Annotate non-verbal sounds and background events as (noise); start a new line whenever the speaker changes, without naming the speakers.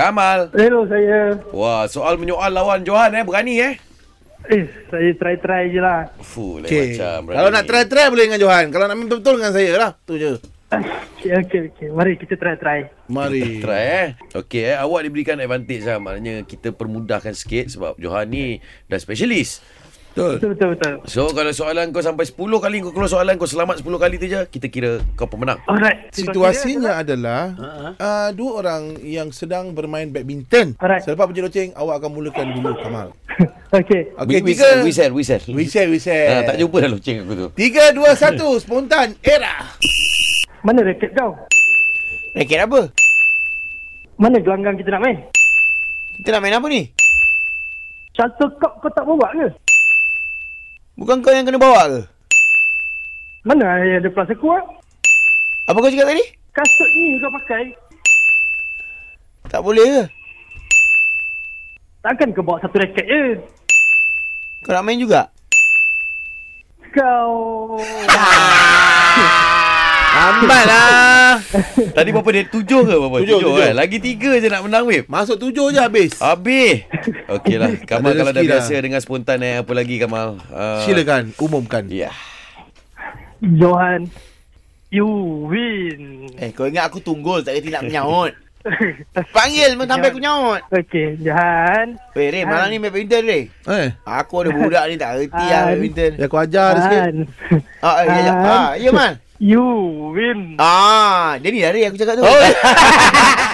Kamal.
Hello saya.
Wah, soal menyoal lawan Johan eh. Berani eh.
Eh, saya try-try je lah. (coughs)
Fuh, lain
Okay.
macam. berani.
Kalau nak try-try boleh dengan Johan. Kalau nak main betul dengan saya lah. Tu je.
Okey, okey, okey. Mari kita try-try.
(laughs) Mari.
Try eh Okey eh Awak diberikan advantage lah Maknanya kita permudahkan sikit Sebab Johan ni Dah specialist
Betul.
Betul, betul, betul.
So kalau soalan kau sampai 10 kali Kau keluar soalan Kau selamat 10 kali tu je Kita kira kau pemenang
Alright. (laughs)
Situasinya adalah uh, dua orang yang sedang bermain badminton.
Alright.
Selepas puji loceng, awak akan mulakan dulu Kamal.
okey.
Okey,
we,
tiga.
We send We send,
We share, we
Ah,
share.
Tak jumpa dah loceng aku tu
Tiga, dua, satu. Spontan. Era.
Mana raket kau?
Raket apa?
Mana gelanggang kita nak main?
Kita nak main apa ni?
Shuttlecock kau tak bawa ke?
Bukan kau yang kena bawa ke?
Mana ada pelas aku ah?
Apa kau cakap tadi?
Kasut ni kau pakai.
Tak boleh ke?
Takkan kau bawa satu raket je.
Kau nak main juga?
Kau...
(laughs) Lambat lah.
Tadi berapa dia? Tujuh ke berapa?
Tujuh, tujuh.
kan? Lagi tiga je nak menang weh
Masuk tujuh je habis.
Habis Okey lah
(laughs)
Kamal
Ada
kalau dah
rezeki dah.
biasa Dengan spontan eh Apa lagi Kamal uh,
Silakan, umumkan.
Ya yeah.
Johan. You win. (laughs)
Eh kau ingat aku tunggul tak kena nak menyaut. Panggil pun sampai aku nyaut.
okey, Johan.
Weh Ray malam ni main badminton Ray.
Eh,
Aku ada budak ni tak reti lah
Han.
badminton.
ya aku ajar dia sikit.
Johan.
Ah, eh, ya, ya.
Han.
Ah, ya man.
You win.
Ah, dia ni lah Ray aku cakap tu.
Oh